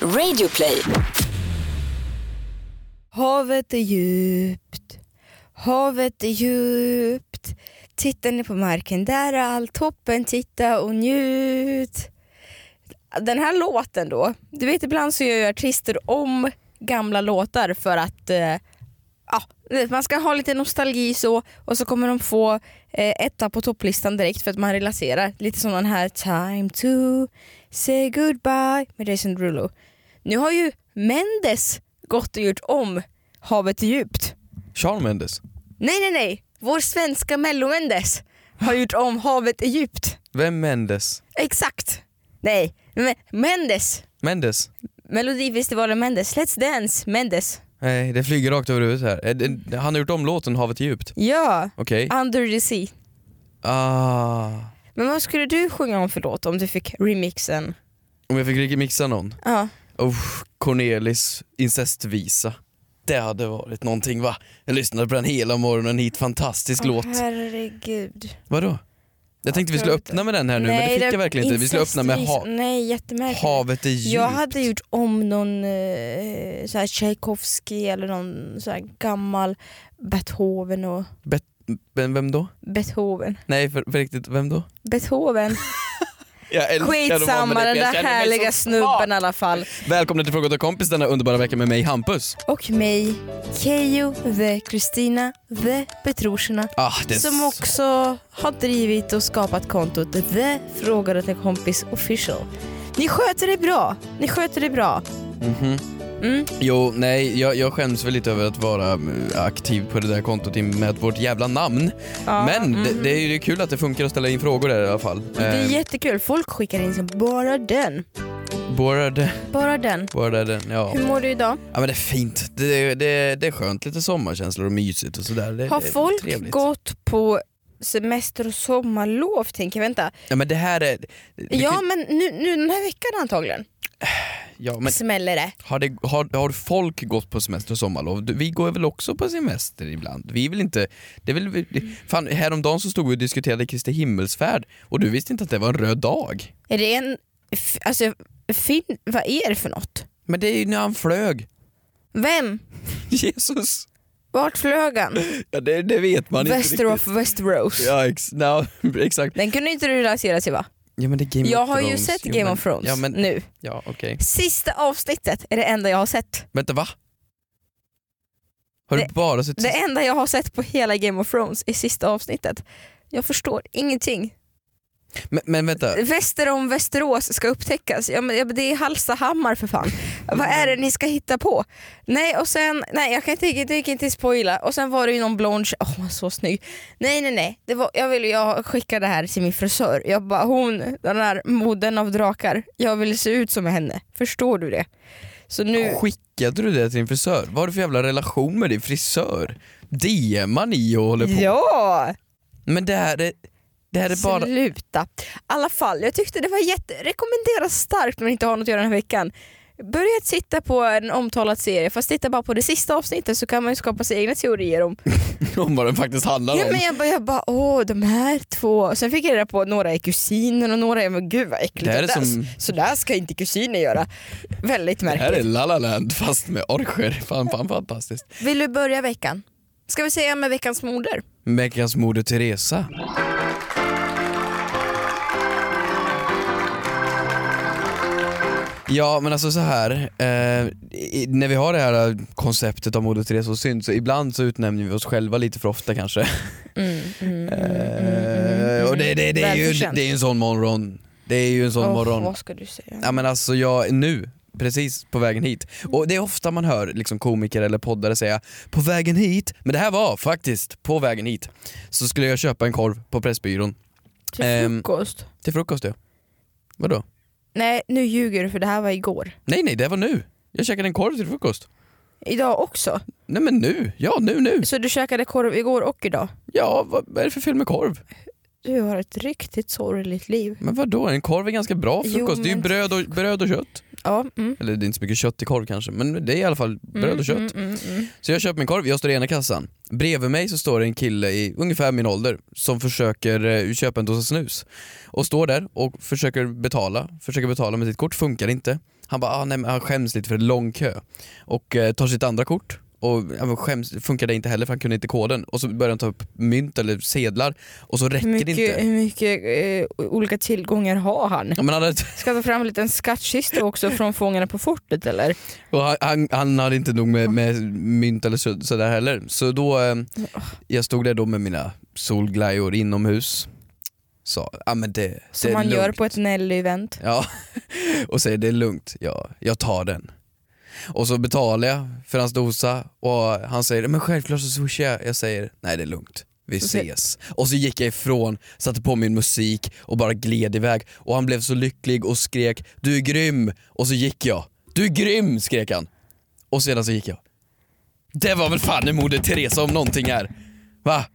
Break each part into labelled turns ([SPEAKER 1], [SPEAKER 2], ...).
[SPEAKER 1] Radioplay.
[SPEAKER 2] Havet är djupt, havet är djupt. Tittar ni på marken, där är allt toppen, titta och njut. Den här låten då, du vet ibland så gör ju artister om gamla låtar för att eh, ja, du vet, man ska ha lite nostalgi så och så kommer de få eh, etta på topplistan direkt för att man relaterar. Lite som den här Time to say goodbye med Jason Derulo. Nu har ju Mendes gått och gjort om Havet är djupt.
[SPEAKER 3] Shawn Mendes?
[SPEAKER 2] Nej, nej, nej. Vår svenska Mello-Mendes har gjort om Havet är djupt.
[SPEAKER 3] Vem Mendes?
[SPEAKER 2] Exakt. Nej, men Mendes.
[SPEAKER 3] Mendes?
[SPEAKER 2] Melodifestivalen Mendes. Let's dance Mendes.
[SPEAKER 3] Nej, det flyger rakt över huvudet här. Eh, det- Han har gjort om låten Havet är djupt.
[SPEAKER 2] Ja,
[SPEAKER 3] Okej.
[SPEAKER 2] Under the Sea.
[SPEAKER 3] Ah.
[SPEAKER 2] Men vad skulle du sjunga om för låt om du fick remixen?
[SPEAKER 3] Om jag fick mixa någon?
[SPEAKER 2] Ja.
[SPEAKER 3] Oh, Cornelis incestvisa. Det hade varit någonting va? Jag lyssnade på den hela morgonen hit, fantastisk låt.
[SPEAKER 2] Ah. herregud.
[SPEAKER 3] Vadå? Jag tänkte vi skulle
[SPEAKER 2] tror inte.
[SPEAKER 3] öppna med den här nu men det fick jag verkligen inte. Vi skulle öppna med ha-
[SPEAKER 2] Nej, jättemärkligt.
[SPEAKER 3] Havet är djupt.
[SPEAKER 2] Jag hade gjort om någon eh, så här Tchaikovsky eller någon så här gammal Beethoven och
[SPEAKER 3] Men vem då?
[SPEAKER 2] Beethoven.
[SPEAKER 3] Nej för, för riktigt, vem då?
[SPEAKER 2] Beethoven.
[SPEAKER 3] Jag älskar att vara med
[SPEAKER 2] Skitsamma
[SPEAKER 3] dig,
[SPEAKER 2] den
[SPEAKER 3] för jag
[SPEAKER 2] där
[SPEAKER 3] känner mig
[SPEAKER 2] härliga
[SPEAKER 3] så
[SPEAKER 2] snubben
[SPEAKER 3] smart.
[SPEAKER 2] i alla fall.
[SPEAKER 3] Välkomna till Fråga åt en kompis denna underbara vecka med mig Hampus.
[SPEAKER 2] Och mig, Keyyo, the Kristina, the Petrushina.
[SPEAKER 3] Ah, det är
[SPEAKER 2] Som
[SPEAKER 3] så-
[SPEAKER 2] också har drivit och skapat kontot The frågade till kompis official. Ni sköter det bra. Ni sköter det bra.
[SPEAKER 3] Mhm.
[SPEAKER 2] Mm.
[SPEAKER 3] Jo, nej, jag, jag skäms väl lite över att vara mm, aktiv på det där kontot i och med vårt jävla namn.
[SPEAKER 2] Ja,
[SPEAKER 3] Men det,
[SPEAKER 2] mhm.
[SPEAKER 3] det är ju kul att det funkar att ställa in frågor där i alla fall.
[SPEAKER 2] Det är
[SPEAKER 3] Eh,
[SPEAKER 2] jättekul. Folk skickar in som bara den.
[SPEAKER 3] Borrade,
[SPEAKER 2] Bara den.
[SPEAKER 3] borrade den, ja.
[SPEAKER 2] Hur mår du idag?
[SPEAKER 3] Ja men det är fint. Det, det, det är skönt, lite sommarkänslor och mysigt och sådär. Det,
[SPEAKER 2] Har
[SPEAKER 3] det är
[SPEAKER 2] folk
[SPEAKER 3] trevligt.
[SPEAKER 2] gått på semester och sommarlov tänker jag. Vänta.
[SPEAKER 3] Ja men det här är... det- det
[SPEAKER 2] Ja
[SPEAKER 3] kan-
[SPEAKER 2] men nu, nu den här veckan antagligen
[SPEAKER 3] ja men
[SPEAKER 2] smäller det.
[SPEAKER 3] har, det, har, har folk gått på semester och sommarlov? Du, Vi går väl också på semester ibland? Vi vill inte... Det är väl, vi- fan, häromdagen så stod vi och diskuterade Kristi himmelsfärd och du visste inte att det var en röd dag.
[SPEAKER 2] Är det en... f- Alltså, fin, vad är det för något?
[SPEAKER 3] Men det är ju när han flög.
[SPEAKER 2] Vem?
[SPEAKER 3] Jesus!
[SPEAKER 2] Vart flög han?
[SPEAKER 3] Ja det, det vet man inte
[SPEAKER 2] Västerås, Westeros.
[SPEAKER 3] riktigt. Ja ex, no, exakt.
[SPEAKER 2] Den kunde inte du relatera till va?
[SPEAKER 3] Ja men det är Game
[SPEAKER 2] Jag
[SPEAKER 3] of
[SPEAKER 2] har ju
[SPEAKER 3] Thrones.
[SPEAKER 2] sett
[SPEAKER 3] Jo,
[SPEAKER 2] Game
[SPEAKER 3] men-
[SPEAKER 2] of Thrones Mm.
[SPEAKER 3] Ja men,
[SPEAKER 2] nu.
[SPEAKER 3] ja okej.
[SPEAKER 2] Sista avsnittet är det enda jag har sett.
[SPEAKER 3] Vänta va? Har du bara sett
[SPEAKER 2] Det enda jag har sett på hela Game of Thrones är sista avsnittet. Jag förstår ingenting.
[SPEAKER 3] Men, men vänta,
[SPEAKER 2] Väster om Västerås ska upptäckas. Ja, men ja, men det är Hallstahammar för fan. Vad är det ni ska hitta på? Nej, och sen, nej jag kan inte, jag tänker inte spoila. Och sen var det ju någon blond tjej- åh så snygg. Nej nej nej, det var, jag, vill, jag skickade det här till min frisör. Jag bara hon, den där moden av drakar, jag vill se ut som henne. Förstår du det? Så nu,
[SPEAKER 3] skickade du det till din frisör? Vad har du för jävla relation med din frisör? DMar ni och håller på?
[SPEAKER 2] ja!
[SPEAKER 3] Men det här är, det här är bara...
[SPEAKER 2] Sluta. I alla fall, jag tyckte det var jätte... Rekommenderas starkt om man inte har något att göra den här veckan. Börja titta på en omtalad serie, fast titta bara på det sista avsnittet så kan man ju skapa sig egna teorier om...
[SPEAKER 3] om vad den faktiskt handlar
[SPEAKER 2] Ja,
[SPEAKER 3] om.
[SPEAKER 2] men jag bara, jag bara åh de här två. Sen fick jag reda på att några är kusiner och några är, men gud vad äckligt.
[SPEAKER 3] Det här är
[SPEAKER 2] Och där-
[SPEAKER 3] som-
[SPEAKER 2] Så där ska inte kusiner göra. Väldigt
[SPEAKER 3] Det här är
[SPEAKER 2] märkligt.
[SPEAKER 3] La La Land fast med orcher. Fan, fan fantastiskt.
[SPEAKER 2] Vill du börja veckan? Ska vi säga med veckans moder?
[SPEAKER 3] Veckans Moder Teresa. Ja men alltså så här eh, i, när vi har det här konceptet av Moder Teresa och synd så ibland så utnämner vi oss själva lite för ofta kanske. mm, Eh, och det, det, det, är ju,
[SPEAKER 2] Välförtjänt.
[SPEAKER 3] det är ju en sån morgon. Det är ju en sån
[SPEAKER 2] Åh,
[SPEAKER 3] morgon.
[SPEAKER 2] Vad ska du säga?
[SPEAKER 3] Ja men alltså jag, nu, precis på vägen hit. Och det är ofta man hör liksom komiker eller poddare säga på vägen hit, men det här var faktiskt på vägen hit. Så skulle jag köpa en korv på Pressbyrån
[SPEAKER 2] Till
[SPEAKER 3] ehm,
[SPEAKER 2] frukost?
[SPEAKER 3] till frukost ja. Vadå?
[SPEAKER 2] Nej nu ljuger du för det här var igår.
[SPEAKER 3] Nej nej det var nu. Jag käkade en korv till frukost.
[SPEAKER 2] Idag också?
[SPEAKER 3] Nej men nu, ja nu nu.
[SPEAKER 2] Så du käkade korv igår och idag?
[SPEAKER 3] Ja vad vad är det för fel med korv?
[SPEAKER 2] Du har ett riktigt sorgligt liv.
[SPEAKER 3] Men vadå en korv är ganska bra
[SPEAKER 2] Jo,
[SPEAKER 3] frukost. Det är ju
[SPEAKER 2] men-
[SPEAKER 3] bröd och, bröd och kött.
[SPEAKER 2] Ja, mm.
[SPEAKER 3] Eller det är inte så mycket kött i korv kanske men det är i alla fall bröd
[SPEAKER 2] Mm,
[SPEAKER 3] och kött.
[SPEAKER 2] Mm, mm, mm.
[SPEAKER 3] Så jag köper min korv, jag står i ena kassan. Bredvid mig så står det en kille i ungefär min ålder som försöker eh, köpa en dosa snus. Och står där och försöker betala, försöker betala med sitt kort, funkar inte. Han bara, ah, nej, men han skäms lite för det är lång kö. Och eh, tar sitt andra kort och ja, men skäms, funkar det inte heller för han kunde inte koden. Och så börjar han ta upp mynt eller sedlar och så räcker
[SPEAKER 2] Hur
[SPEAKER 3] det inte.
[SPEAKER 2] mycket, hur mycket eh, olika tillgångar har han?
[SPEAKER 3] Ja, men han, hade,
[SPEAKER 2] Ska jag ta fram en liten skattkista också från Fångarna på fortet eller?
[SPEAKER 3] och han- han, han hade inte nog med, med mynt eller så, sådär heller. Så då, eh, jag stod där då med mina solglajjor inomhus. Så, ja men det,
[SPEAKER 2] Som
[SPEAKER 3] det är
[SPEAKER 2] man gör
[SPEAKER 3] lugnt."
[SPEAKER 2] på ett Nelly-event.
[SPEAKER 3] Ja, och säger det är lugnt, ja, jag tar den. Och så betalar jag för hans dosa och han säger men självklart så swishar jag. Jag säger nej det är lugnt, vi
[SPEAKER 2] Så ser-
[SPEAKER 3] ses. Och så gick jag ifrån, satte på min musik och bara gled iväg och han blev så lycklig och skrek du är grym och så gick jag. Du är grym skrek han. Och sedan så gick jag. Det var väl fan en Moder Teresa om någonting här. Va?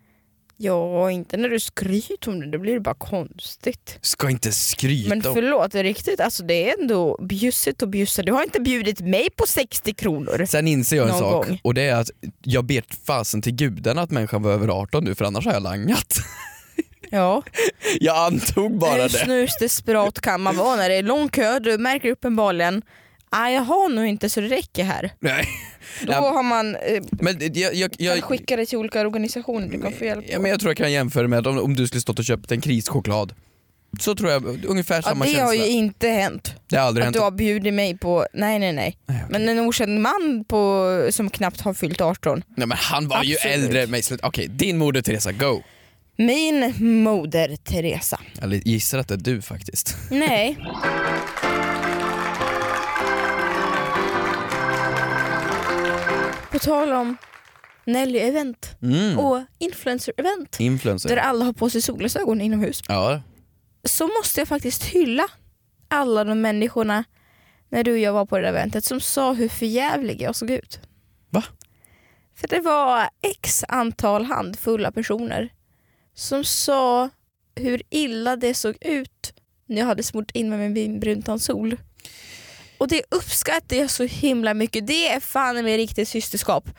[SPEAKER 2] Ja, inte när du skryter om det, då blir det bara konstigt.
[SPEAKER 3] Ska inte skryta
[SPEAKER 2] Men
[SPEAKER 3] om-
[SPEAKER 2] förlåt, det är riktigt, alltså det är ändå bjussigt och bjussa. Du har inte bjudit mig på 60 kronor.
[SPEAKER 3] Sen inser jag en
[SPEAKER 2] Någon
[SPEAKER 3] sak
[SPEAKER 2] gång.
[SPEAKER 3] och det är att jag ber fasen till gudarna att människan var över 18 nu för annars har jag langat.
[SPEAKER 2] Ja.
[SPEAKER 3] Jag antog bara
[SPEAKER 2] Hur
[SPEAKER 3] det.
[SPEAKER 2] snusdesperat kan man vara när det är lång kö? Du märker uppenbarligen ah, jag har nog inte så det räcker här.
[SPEAKER 3] Nej.
[SPEAKER 2] Då
[SPEAKER 3] Nej,
[SPEAKER 2] har man eh,
[SPEAKER 3] men jag, jag,
[SPEAKER 2] kan
[SPEAKER 3] jag,
[SPEAKER 2] skicka det till olika organisationer du kan få hjälp
[SPEAKER 3] ja, men jag tror jag kan jämföra med om, om du skulle stått och köpt en krischoklad. Så tror jag, ungefär
[SPEAKER 2] ja,
[SPEAKER 3] samma
[SPEAKER 2] Det
[SPEAKER 3] känsla.
[SPEAKER 2] har ju inte hänt.
[SPEAKER 3] det har aldrig
[SPEAKER 2] Att
[SPEAKER 3] hänt.
[SPEAKER 2] du har bjudit mig på, nej nej nej.
[SPEAKER 3] Nej, okej.
[SPEAKER 2] Men en okänd man på, som knappt har fyllt 18.
[SPEAKER 3] Nej, men han var ju
[SPEAKER 2] Absolut.
[SPEAKER 3] äldre än mig. Slut- Okej, din moder Teresa, go!
[SPEAKER 2] Min moder Teresa.
[SPEAKER 3] Jag gissar att det är du faktiskt.
[SPEAKER 2] Nej. På tal om Nelly-event
[SPEAKER 3] Mm.
[SPEAKER 2] och influencer-event där
[SPEAKER 3] Influencer.
[SPEAKER 2] alla har på sig solglasögon inomhus
[SPEAKER 3] Ja.
[SPEAKER 2] så måste jag faktiskt hylla alla de människorna när du och jag var på det där eventet som sa hur förjävlig jag såg ut.
[SPEAKER 3] Va?
[SPEAKER 2] För det var x antal handfulla personer som sa hur illa det såg ut när jag hade smort in mig med min bruntonsol. Och det uppskattar jag så himla mycket. Det är fan med riktigt systerskap.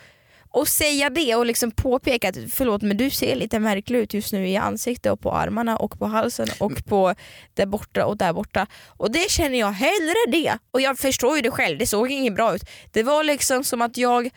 [SPEAKER 2] Och säga det och liksom påpeka att förlåt men du ser lite märklig ut just nu i ansiktet och på armarna och på halsen och på där borta och där borta. Och det känner jag hellre det. Och jag förstår ju det själv, det såg inget bra ut. Det var liksom som att jag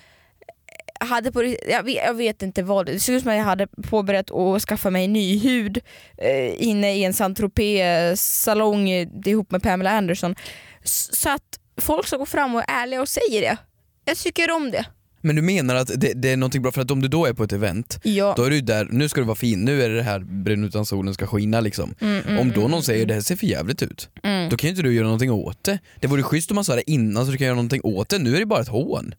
[SPEAKER 2] hade på, jag, vet, jag vet inte vad, det såg ut som att jag hade påbörjat att skaffa mig ny hud eh, inne i en Saint Tropez-salong eh, ihop med Pamela Anderson. S- Så att folk som går fram och är ärliga och säger det, jag tycker om det.
[SPEAKER 3] Men du menar att det, det är någonting bra för att om du då är på ett event
[SPEAKER 2] Ja.
[SPEAKER 3] Då är du där, nu ska du vara fin, nu är det det här brun utan solen ska skina liksom.
[SPEAKER 2] Mm,
[SPEAKER 3] om då någon säger det här ser för jävligt ut, då kan ju inte du göra någonting åt det. Det vore schysst om man sa det innan så du kan göra någonting åt det, nu är det bara ett hån.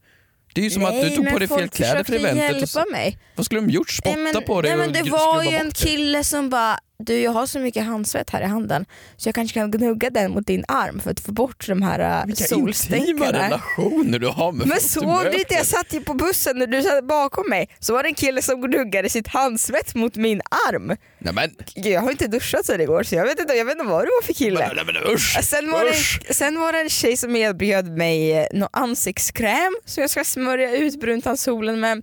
[SPEAKER 3] Det är ju som att du tog
[SPEAKER 2] men
[SPEAKER 3] på dig fel
[SPEAKER 2] folk
[SPEAKER 3] kläder för
[SPEAKER 2] försökte
[SPEAKER 3] eventet. Och
[SPEAKER 2] hjälpa
[SPEAKER 3] så,
[SPEAKER 2] mig.
[SPEAKER 3] vad skulle de gjort? Spotta
[SPEAKER 2] Nej, men,
[SPEAKER 3] på dig
[SPEAKER 2] nej, men
[SPEAKER 3] och
[SPEAKER 2] det
[SPEAKER 3] gr-
[SPEAKER 2] var ju
[SPEAKER 3] skruva
[SPEAKER 2] en
[SPEAKER 3] bort dig?
[SPEAKER 2] kille som bara, du jag har så mycket handsvett här i handen så jag kanske kan gnugga den mot din arm för att få bort de här äh,
[SPEAKER 3] Vilka intima
[SPEAKER 2] solstänkarna.
[SPEAKER 3] relationer du har med
[SPEAKER 2] Men
[SPEAKER 3] folk du
[SPEAKER 2] såg du
[SPEAKER 3] möter.
[SPEAKER 2] inte, jag satt ju på bussen när du satt bakom mig så var det en kille som gnuggade sitt handsvett mot min arm.
[SPEAKER 3] Nej men,
[SPEAKER 2] Jag har inte duschat sedan igår så jag vet inte, jag vet inte vad det var för kille.
[SPEAKER 3] nej, men usch!
[SPEAKER 2] Sen var,
[SPEAKER 3] Usch.
[SPEAKER 2] det, sen var det en tjej som erbjöd mig eh, någon ansiktskräm som jag ska smörja ut bruntan solen med.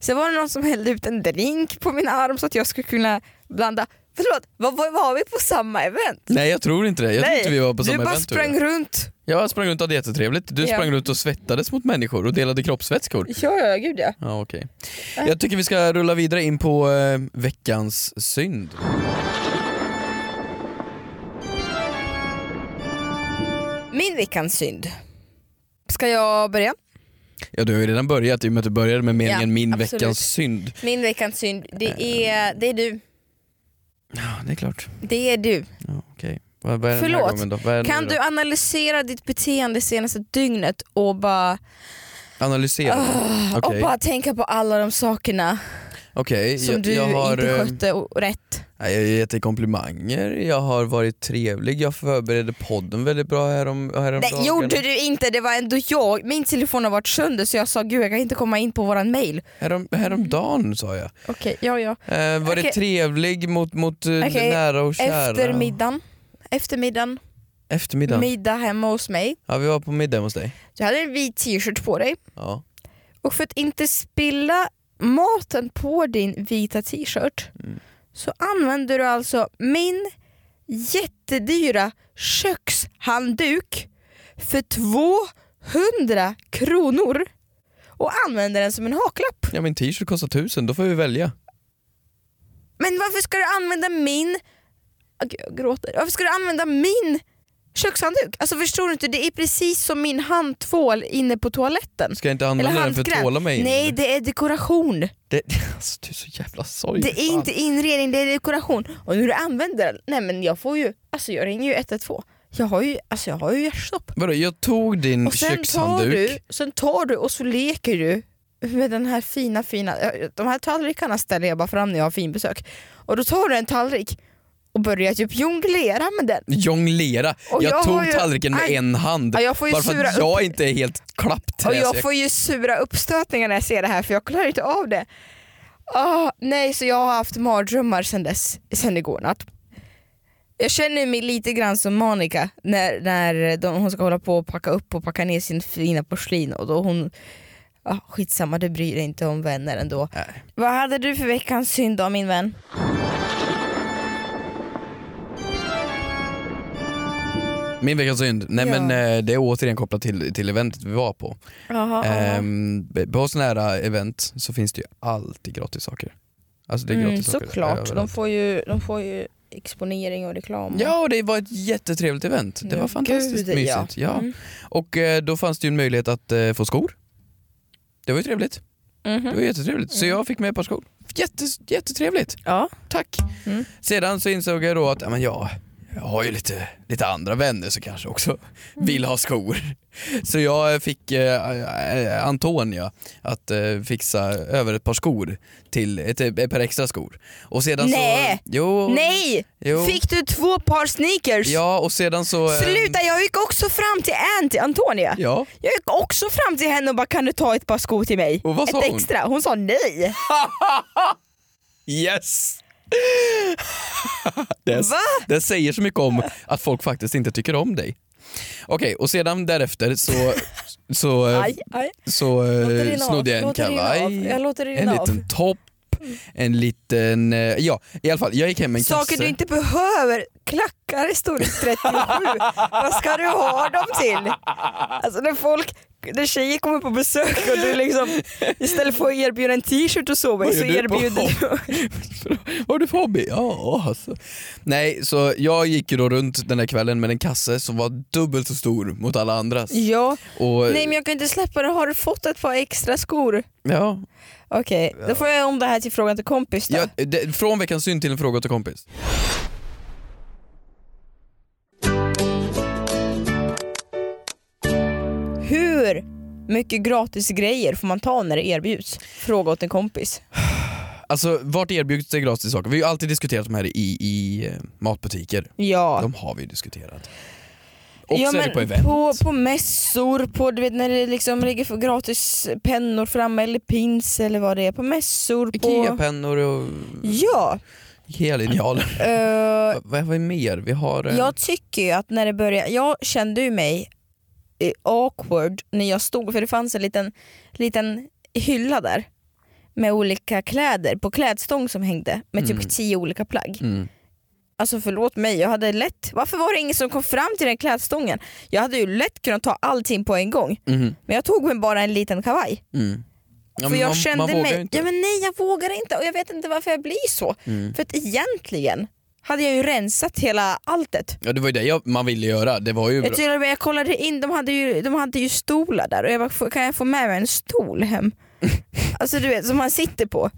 [SPEAKER 2] Sen var det någon som hällde ut en drink på min arm så att jag skulle kunna blanda. Förlåt, vad var, var vi på samma event?
[SPEAKER 3] Nej jag tror inte det, jag tror
[SPEAKER 2] Nej,
[SPEAKER 3] inte vi var på samma
[SPEAKER 2] du bara
[SPEAKER 3] event. du.
[SPEAKER 2] sprang runt.
[SPEAKER 3] Jag sprang runt och hade jättetrevligt, du
[SPEAKER 2] Ja.
[SPEAKER 3] sprang runt och svettades mot människor och delade kroppsvätskor.
[SPEAKER 2] Ja, ja, gud ja.
[SPEAKER 3] Ja, okej.
[SPEAKER 2] Äh.
[SPEAKER 3] Jag tycker vi ska rulla vidare in på eh, veckans synd.
[SPEAKER 2] Min veckans synd. Ska jag börja?
[SPEAKER 3] Ja, du har ju redan börjat i och med att du började med meningen
[SPEAKER 2] Ja,
[SPEAKER 3] min
[SPEAKER 2] absolut.
[SPEAKER 3] veckans synd.
[SPEAKER 2] Min veckans synd, det är, det är du.
[SPEAKER 3] Ja, det är klart.
[SPEAKER 2] Det är du.
[SPEAKER 3] Ja, okej. Vad, vad är den här
[SPEAKER 2] Förlåt,
[SPEAKER 3] gången då? Vad är den
[SPEAKER 2] Kan
[SPEAKER 3] nu
[SPEAKER 2] du analysera ditt beteende senaste dygnet och bara,
[SPEAKER 3] då? Analysera.
[SPEAKER 2] Ah,
[SPEAKER 3] Ah. Okej,
[SPEAKER 2] och bara tänka på alla de sakerna
[SPEAKER 3] Okej,
[SPEAKER 2] som
[SPEAKER 3] jag,
[SPEAKER 2] du
[SPEAKER 3] jag har...
[SPEAKER 2] inte
[SPEAKER 3] eh,
[SPEAKER 2] skötte o- rätt.
[SPEAKER 3] nej, Jag har gett dig komplimanger, jag har varit trevlig, jag förberedde podden väldigt bra härom,
[SPEAKER 2] Nej
[SPEAKER 3] häromdagen.
[SPEAKER 2] gjorde du inte, det var ändå jag. Min telefon har varit sönder så jag sa gud jag kan inte komma in på våran mail.
[SPEAKER 3] Härom, häromdagen sa jag.
[SPEAKER 2] Okej, ja ja.
[SPEAKER 3] Eh, varit
[SPEAKER 2] Okej.
[SPEAKER 3] trevlig mot, mot eh,
[SPEAKER 2] Okej,
[SPEAKER 3] nära och kära.
[SPEAKER 2] Eftermiddagen, eftermiddagen,
[SPEAKER 3] Eftermiddagen.
[SPEAKER 2] middag hemma hos mig.
[SPEAKER 3] ja, vi var på middag hos dig.
[SPEAKER 2] Du hade en vit t-shirt på dig
[SPEAKER 3] Ja.
[SPEAKER 2] och för att inte spilla maten på din vita t-shirt så använder du alltså min jättedyra kökshandduk för 200 kronor och använder den som en haklapp.
[SPEAKER 3] Ja min t-shirt kostar tusen, då får vi välja.
[SPEAKER 2] Men varför ska du använda min... Åh, gud, Jag gråter. Varför ska du använda min kökshandduk? Alltså förstår du inte? Det är precis som min handtvål inne på toaletten.
[SPEAKER 3] Ska jag inte använda
[SPEAKER 2] Eller
[SPEAKER 3] den för att
[SPEAKER 2] handskräp.
[SPEAKER 3] tvåla mig in?
[SPEAKER 2] Nej, det är dekoration.
[SPEAKER 3] Det, alltså, du är så jävla sorglig.
[SPEAKER 2] Det är
[SPEAKER 3] fan.
[SPEAKER 2] inte inredning, det är dekoration. Och när du använder den, nej men jag får ju, alltså jag ringer ju 112. Jag har ju, alltså jag har ju hjärtstopp.
[SPEAKER 3] Vadå, jag tog din
[SPEAKER 2] Och sen tar,
[SPEAKER 3] kökshandduk.
[SPEAKER 2] du, sen tar du och så leker du med den här fina fina, de här tallrikarna ställer jag bara fram när jag har finbesök. Och då tar du en tallrik och börjar typ jonglera med den.
[SPEAKER 3] Jonglera.
[SPEAKER 2] Och
[SPEAKER 3] Jag,
[SPEAKER 2] jag har
[SPEAKER 3] tog
[SPEAKER 2] ju-
[SPEAKER 3] tallriken med
[SPEAKER 2] Aj.
[SPEAKER 3] en hand.
[SPEAKER 2] Ja, jag får ju
[SPEAKER 3] Bara för
[SPEAKER 2] sura
[SPEAKER 3] att jag
[SPEAKER 2] upp,
[SPEAKER 3] inte är helt
[SPEAKER 2] och
[SPEAKER 3] klappträ. så
[SPEAKER 2] jag får ju sura uppstötningar när jag ser det här för jag klarar inte av det. Ah, nej, så jag har haft mardrömmar sen dess, sen igår natt. Jag känner mig lite grann som Monica när, när de, hon ska hålla på och packa upp och packa ner sin fina porslin och då hon ah, skitsamma, du bryr dig inte om vänner ändå.
[SPEAKER 3] Nej.
[SPEAKER 2] Vad hade du för veckans synd då min vän?
[SPEAKER 3] Min veckans synd, nej
[SPEAKER 2] Ja.
[SPEAKER 3] men eh, det är återigen kopplat till, till eventet vi var på.
[SPEAKER 2] Jaha,
[SPEAKER 3] Ehm, på sådana här event så finns det ju alltid gratis saker. Alltså det är
[SPEAKER 2] mm,
[SPEAKER 3] gratis saker
[SPEAKER 2] såklart, de
[SPEAKER 3] överallt.
[SPEAKER 2] får, ju, de får ju exponering och reklam. och-
[SPEAKER 3] Ja och det var ett jättetrevligt event, det
[SPEAKER 2] Ja,
[SPEAKER 3] var fantastiskt
[SPEAKER 2] gud, ja.
[SPEAKER 3] mysigt. Ja.
[SPEAKER 2] Mm.
[SPEAKER 3] Och eh, då fanns det ju en möjlighet att eh, få skor. Det var ju trevligt,
[SPEAKER 2] Mhm.
[SPEAKER 3] det var jättetrevligt. Så jag fick med ett par skor. Jätte, jättetrevligt.
[SPEAKER 2] Ja.
[SPEAKER 3] Tack.
[SPEAKER 2] Mm.
[SPEAKER 3] Sedan så insåg jag då att ja, men jag, jag har ju lite, lite andra vänner som kanske också
[SPEAKER 2] Mm.
[SPEAKER 3] vill ha skor. Så jag fick eh, eh, Antonia att eh, fixa över ett par skor till ett, ett par extra skor. Och sedan
[SPEAKER 2] Nej.
[SPEAKER 3] så... Jo,
[SPEAKER 2] Nej!
[SPEAKER 3] Jo.
[SPEAKER 2] Fick du två par sneakers?
[SPEAKER 3] Ja och sedan så... eh,
[SPEAKER 2] Sluta, jag gick också fram till Anty, Antonia.
[SPEAKER 3] Ja.
[SPEAKER 2] Jag gick också fram till henne och bara kan du ta ett par skor till mig?
[SPEAKER 3] Och vad
[SPEAKER 2] ett
[SPEAKER 3] sa hon?
[SPEAKER 2] extra. Hon sa nej.
[SPEAKER 3] Yes! det,
[SPEAKER 2] Va?
[SPEAKER 3] det säger så mycket om att folk faktiskt inte tycker om dig. Okej, och sedan därefter så, så, eh,
[SPEAKER 2] Aj, aj.
[SPEAKER 3] så eh,
[SPEAKER 2] Låter rinna av,
[SPEAKER 3] snodde jag en
[SPEAKER 2] låter rinna av.
[SPEAKER 3] kavaj,
[SPEAKER 2] Jag låter
[SPEAKER 3] en
[SPEAKER 2] rinna av.
[SPEAKER 3] liten topp, en liten, eh, ja i alla fall jag gick hem med en
[SPEAKER 2] Saker
[SPEAKER 3] kasse.
[SPEAKER 2] du inte behöver. Klackar i storlek 37. Vad ska du ha dem till? Alltså när folk när tjejer kommer på besök och du liksom istället för att erbjuda en t-shirt och så,
[SPEAKER 3] Vad
[SPEAKER 2] så
[SPEAKER 3] gör du på-
[SPEAKER 2] erbjuder du...
[SPEAKER 3] Vad har du för hobby? Ja, alltså. Nej, så jag gick ju då runt den här kvällen med en kasse som var dubbelt så stor mot alla andras.
[SPEAKER 2] Ja,
[SPEAKER 3] Och,
[SPEAKER 2] nej men jag kan inte släppa det. Har du fått ett par extra skor?
[SPEAKER 3] ja,
[SPEAKER 2] Okej, då får jag om det här till frågan till kompis då.
[SPEAKER 3] Ja, det, från veckans synd till en fråga till kompis.
[SPEAKER 2] Hur mycket gratis grejer får man ta när det erbjuds? Fråga åt en kompis.
[SPEAKER 3] Alltså vart erbjuds det gratis saker? Vi har ju alltid diskuterat de här i, i eh, matbutiker.
[SPEAKER 2] Ja.
[SPEAKER 3] De har vi ju diskuterat. Och
[SPEAKER 2] ja,
[SPEAKER 3] så är det
[SPEAKER 2] men
[SPEAKER 3] på event.
[SPEAKER 2] På, på mässor, på, du vet när det liksom ligger för gratis pennor framme eller pins eller vad det är. På mässor, på...
[SPEAKER 3] Ikea-pennor och
[SPEAKER 2] Ja,
[SPEAKER 3] Ikea-linjaler.
[SPEAKER 2] eh,
[SPEAKER 3] Vad vad är mer? Vi har... eh,
[SPEAKER 2] jag tycker ju att när det börjar, jag kände ju mig eh, awkward när jag stod, för det fanns en liten, liten hylla där med olika kläder på klädstång som hängde med typ
[SPEAKER 3] Mm.
[SPEAKER 2] tio olika plagg.
[SPEAKER 3] Mm.
[SPEAKER 2] Alltså förlåt mig, jag hade lätt... Varför var det ingen som kom fram till den klädstången? Jag hade ju lätt kunnat ta allting på en gång,
[SPEAKER 3] Mm.
[SPEAKER 2] men jag tog mig bara en liten kavaj.
[SPEAKER 3] Mm. Ja,
[SPEAKER 2] för
[SPEAKER 3] men
[SPEAKER 2] jag
[SPEAKER 3] man,
[SPEAKER 2] kände
[SPEAKER 3] man vågar
[SPEAKER 2] mig...
[SPEAKER 3] ju inte.
[SPEAKER 2] Ja, men nej, jag vågar inte och jag vet inte varför jag blir så.
[SPEAKER 3] Mm.
[SPEAKER 2] För att egentligen hade jag ju rensat hela alltet.
[SPEAKER 3] ja, det var ju det jag, man ville göra. Det var ju bra.
[SPEAKER 2] Jag, till och med, jag kollade in, de hade, ju, de hade ju stolar där och jag bara, "Får- kan jag få med mig en stol hem? alltså du vet, som man sitter på.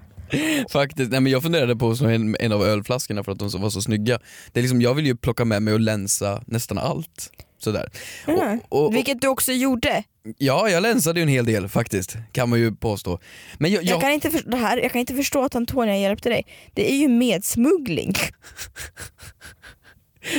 [SPEAKER 3] Faktiskt, nej men jag funderade på som en, en av ölflaskorna för att de så- var så snygga. Det är liksom, jag vill ju plocka med mig och länsa nästan allt. Sådär.
[SPEAKER 2] Mm.
[SPEAKER 3] Och, och, och,
[SPEAKER 2] Vilket du också gjorde.
[SPEAKER 3] ja, jag länsade ju en hel del faktiskt, kan man ju påstå. Men jag,
[SPEAKER 2] Jag
[SPEAKER 3] jag,
[SPEAKER 2] kan, inte för, det här, jag kan inte förstå att Antonia hjälpte dig. Det är ju medsmuggling.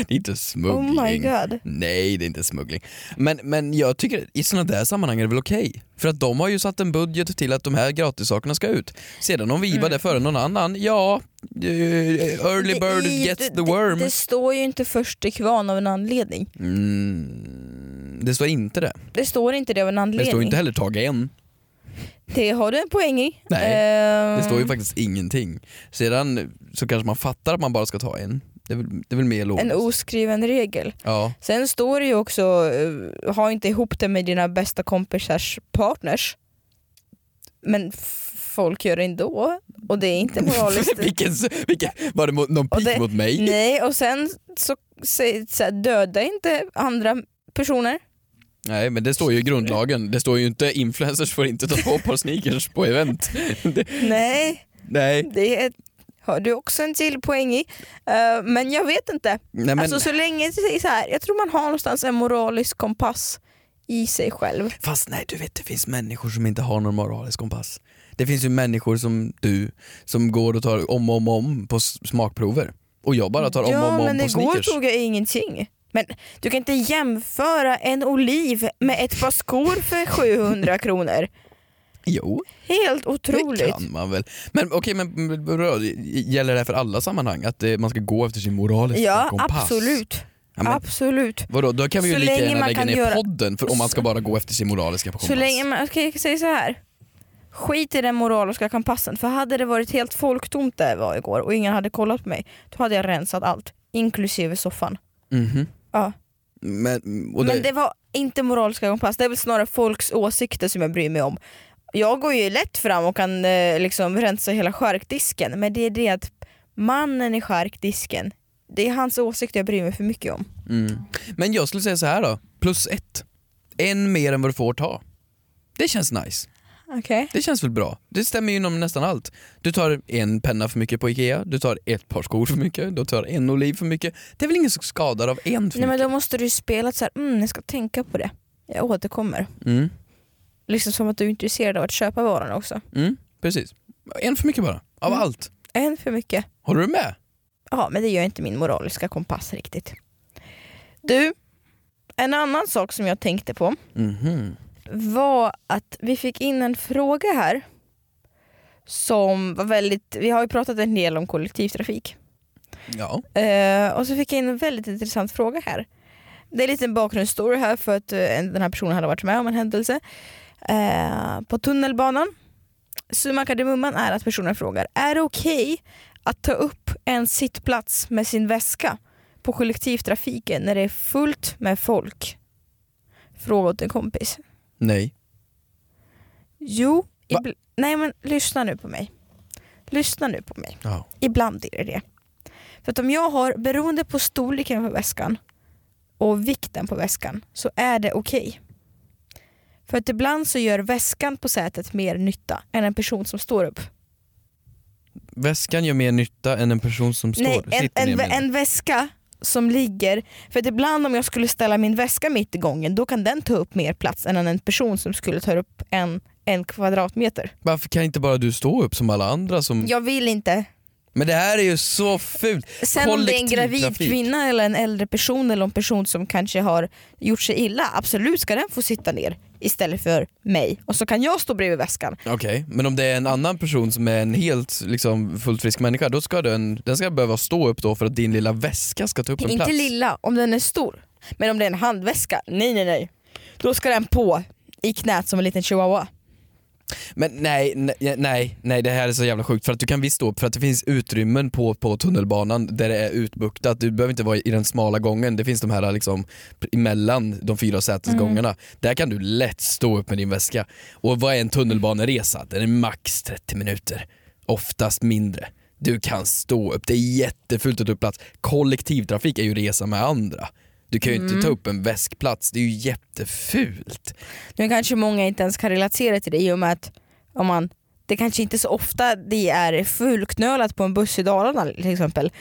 [SPEAKER 3] det är inte smuggling.
[SPEAKER 2] Oh my god.
[SPEAKER 3] Nej, det är inte smuggling. Men, men jag tycker i sådana där sammanhang är det väl okej. För att de har ju satt en budget till att de här gratissakerna ska ut. Sedan om vi var det före någon annan, ja, eh, early
[SPEAKER 2] Mm. Det
[SPEAKER 3] bird
[SPEAKER 2] är ju-
[SPEAKER 3] gets
[SPEAKER 2] det-
[SPEAKER 3] the worm.
[SPEAKER 2] Det, det står ju inte först till kvarn av en anledning.
[SPEAKER 3] Mm, det står inte det.
[SPEAKER 2] Det står inte det av en
[SPEAKER 3] Det
[SPEAKER 2] anledning.
[SPEAKER 3] står inte heller tag en.
[SPEAKER 2] Det har du en poäng i.
[SPEAKER 3] Nej,
[SPEAKER 2] Ehm,
[SPEAKER 3] Det står ju faktiskt ingenting. Sedan så kanske man fattar att man bara ska ta en. Det är väl, det är väl mer logiskt.
[SPEAKER 2] En oskriven regel.
[SPEAKER 3] ja.
[SPEAKER 2] Sen står det ju också, eh, ha inte ihop det med dina bästa kompisars partners. Men f- folk gör det ändå och det är inte moraliskt.
[SPEAKER 3] vilken, s- vilken, var det mot, någon
[SPEAKER 2] Och
[SPEAKER 3] pik
[SPEAKER 2] det-
[SPEAKER 3] mot mig?
[SPEAKER 2] Nej, och sen så, så, så här, döda inte andra personer.
[SPEAKER 3] Nej men det står ju i grundlagen, det står ju inte influencers får inte ta på ett par sneakers på event. Det,
[SPEAKER 2] Nej,
[SPEAKER 3] nej.
[SPEAKER 2] det är, har du också en till poäng i. Eh, men jag vet inte.
[SPEAKER 3] nej men,
[SPEAKER 2] Alltså så länge det är så här, jag tror man har någonstans en moralisk kompass i sig själv.
[SPEAKER 3] fast nej du vet det finns människor som inte har någon moralisk kompass. Det finns ju människor som du, som går och tar om och om, om på s- smakprover. Och jag bara tar om och
[SPEAKER 2] ja,
[SPEAKER 3] om, om
[SPEAKER 2] men
[SPEAKER 3] på
[SPEAKER 2] igår
[SPEAKER 3] sneakers.
[SPEAKER 2] tog jag ingenting. Men du kan inte jämföra en oliv med ett par skor för 700 kronor.
[SPEAKER 3] Jo,
[SPEAKER 2] Helt
[SPEAKER 3] det
[SPEAKER 2] otroligt.
[SPEAKER 3] kan man väl. Men okej, men men, röd, gäller det här för alla sammanhang? Att eh, man ska gå efter sin moraliska
[SPEAKER 2] Ja,
[SPEAKER 3] kompass?
[SPEAKER 2] absolut.
[SPEAKER 3] Ja, men,
[SPEAKER 2] absolut.
[SPEAKER 3] Vadå, då kan vi ju
[SPEAKER 2] Så
[SPEAKER 3] lika
[SPEAKER 2] länge
[SPEAKER 3] gärna
[SPEAKER 2] man
[SPEAKER 3] lägga
[SPEAKER 2] kan
[SPEAKER 3] ner
[SPEAKER 2] göra-
[SPEAKER 3] podden för om man ska bara gå efter sin moraliska kompass.
[SPEAKER 2] Så länge man, okej jag säger så här. Skit i den moraliska kompassen, för hade det varit helt folktomt där jag var igår och ingen hade kollat på mig, då hade jag rensat allt. Inklusive soffan.
[SPEAKER 3] Mhm.
[SPEAKER 2] Ja.
[SPEAKER 3] Men, och det,
[SPEAKER 2] Men det var inte moraliska kompass, det är väl snarare folks åsikter som jag bryr mig om. Jag går ju lätt fram och kan eh, liksom rensa hela charkdisken, men det är det att mannen i charkdisken, det är hans åsikter jag bryr mig för mycket om.
[SPEAKER 3] mm. men jag skulle säga så här då, plus ett. En mer än vad du får ta. Det känns nice.
[SPEAKER 2] Okej.
[SPEAKER 3] Det känns väl bra. Det stämmer ju inom nästan allt. Du tar en penna för mycket på Ikea, du tar ett par skor för mycket, du tar en oliv för mycket. Det är väl ingen som skadar av en för
[SPEAKER 2] Nej men
[SPEAKER 3] mycket?
[SPEAKER 2] då måste du ju spela så här, mm, jag ska tänka på det. Jag återkommer.
[SPEAKER 3] Mm.
[SPEAKER 2] Liksom som att du är intresserad av att köpa varorna också.
[SPEAKER 3] Mm, precis. En för mycket bara, av
[SPEAKER 2] Mm.
[SPEAKER 3] allt.
[SPEAKER 2] En för mycket.
[SPEAKER 3] Håller du med?
[SPEAKER 2] Ja, men det gör inte min moraliska kompass riktigt. Du, en annan sak som jag tänkte på.
[SPEAKER 3] Mhm.
[SPEAKER 2] var att vi fick in en fråga här som var väldigt, vi har ju pratat en del om kollektivtrafik
[SPEAKER 3] Ja.
[SPEAKER 2] eh, och så fick jag in en väldigt intressant fråga här. Det är en liten bakgrundsstory här för att eh, en- den här personen hade varit med om en händelse eh, på tunnelbanan. Summan kardemumman är att personen frågar, är det okej att ta upp en sittplats med sin väska på kollektivtrafiken när det är fullt med folk? Fråga åt en kompis.
[SPEAKER 3] Nej.
[SPEAKER 2] Jo,
[SPEAKER 3] Va?
[SPEAKER 2] ibl- nej men lyssna nu på mig. Lyssna nu på mig.
[SPEAKER 3] Ja.
[SPEAKER 2] Ibland är det det. För att om jag har, beroende på storleken på väskan och vikten på väskan, så är det okej. För att ibland så gör väskan på sätet mer nytta än en person som står upp.
[SPEAKER 3] Väskan gör mer nytta än en person som står,
[SPEAKER 2] Nej, en,
[SPEAKER 3] sitter
[SPEAKER 2] en,
[SPEAKER 3] ner
[SPEAKER 2] vä-
[SPEAKER 3] menar jag.
[SPEAKER 2] en väska som ligger, för att ibland om jag skulle ställa min väska mitt i gången då kan den ta upp mer plats än en person som skulle ta upp en, en kvadratmeter.
[SPEAKER 3] Varför kan inte bara du stå upp som alla andra som...
[SPEAKER 2] Jag vill inte
[SPEAKER 3] Men det här är ju så fult!
[SPEAKER 2] Sen om det är en gravid
[SPEAKER 3] Kollektivtrafik.
[SPEAKER 2] kvinna eller en äldre person eller en person som kanske har gjort sig illa, absolut ska den få sitta ner istället för mig. Och så kan jag stå bredvid väskan.
[SPEAKER 3] Okej, men om det är en annan person som är en helt liksom, fullt frisk människa, då ska den, den ska behöva stå upp då för att din lilla väska ska ta upp en
[SPEAKER 2] Inte
[SPEAKER 3] plats.
[SPEAKER 2] lilla, om den är stor. Men om det är en handväska, nej nej nej. Då ska den på i knät som en liten chihuahua.
[SPEAKER 3] Men nej, nej, nej, nej, det här är så jävla sjukt för att du kan visst stå upp för att det finns utrymmen på, på tunnelbanan där det är utbuktat. Du behöver inte vara i den smala gången, det finns de här liksom emellan de fyra sätesgångarna. Där kan du lätt stå upp med din väska. Och vad är en tunnelbaneresa? Den är max 30 minuter, oftast mindre. Du kan stå upp, det är jättefullt att ta upp plats. Kollektivtrafik är ju resa med andra. Du kan ju inte ta upp en väskplats, det är ju jättefult.
[SPEAKER 2] Nu kanske många inte ens kan relatera till det i och med att om man, det kanske inte är så ofta det är fulknölat på en buss i Dalarna till exempel.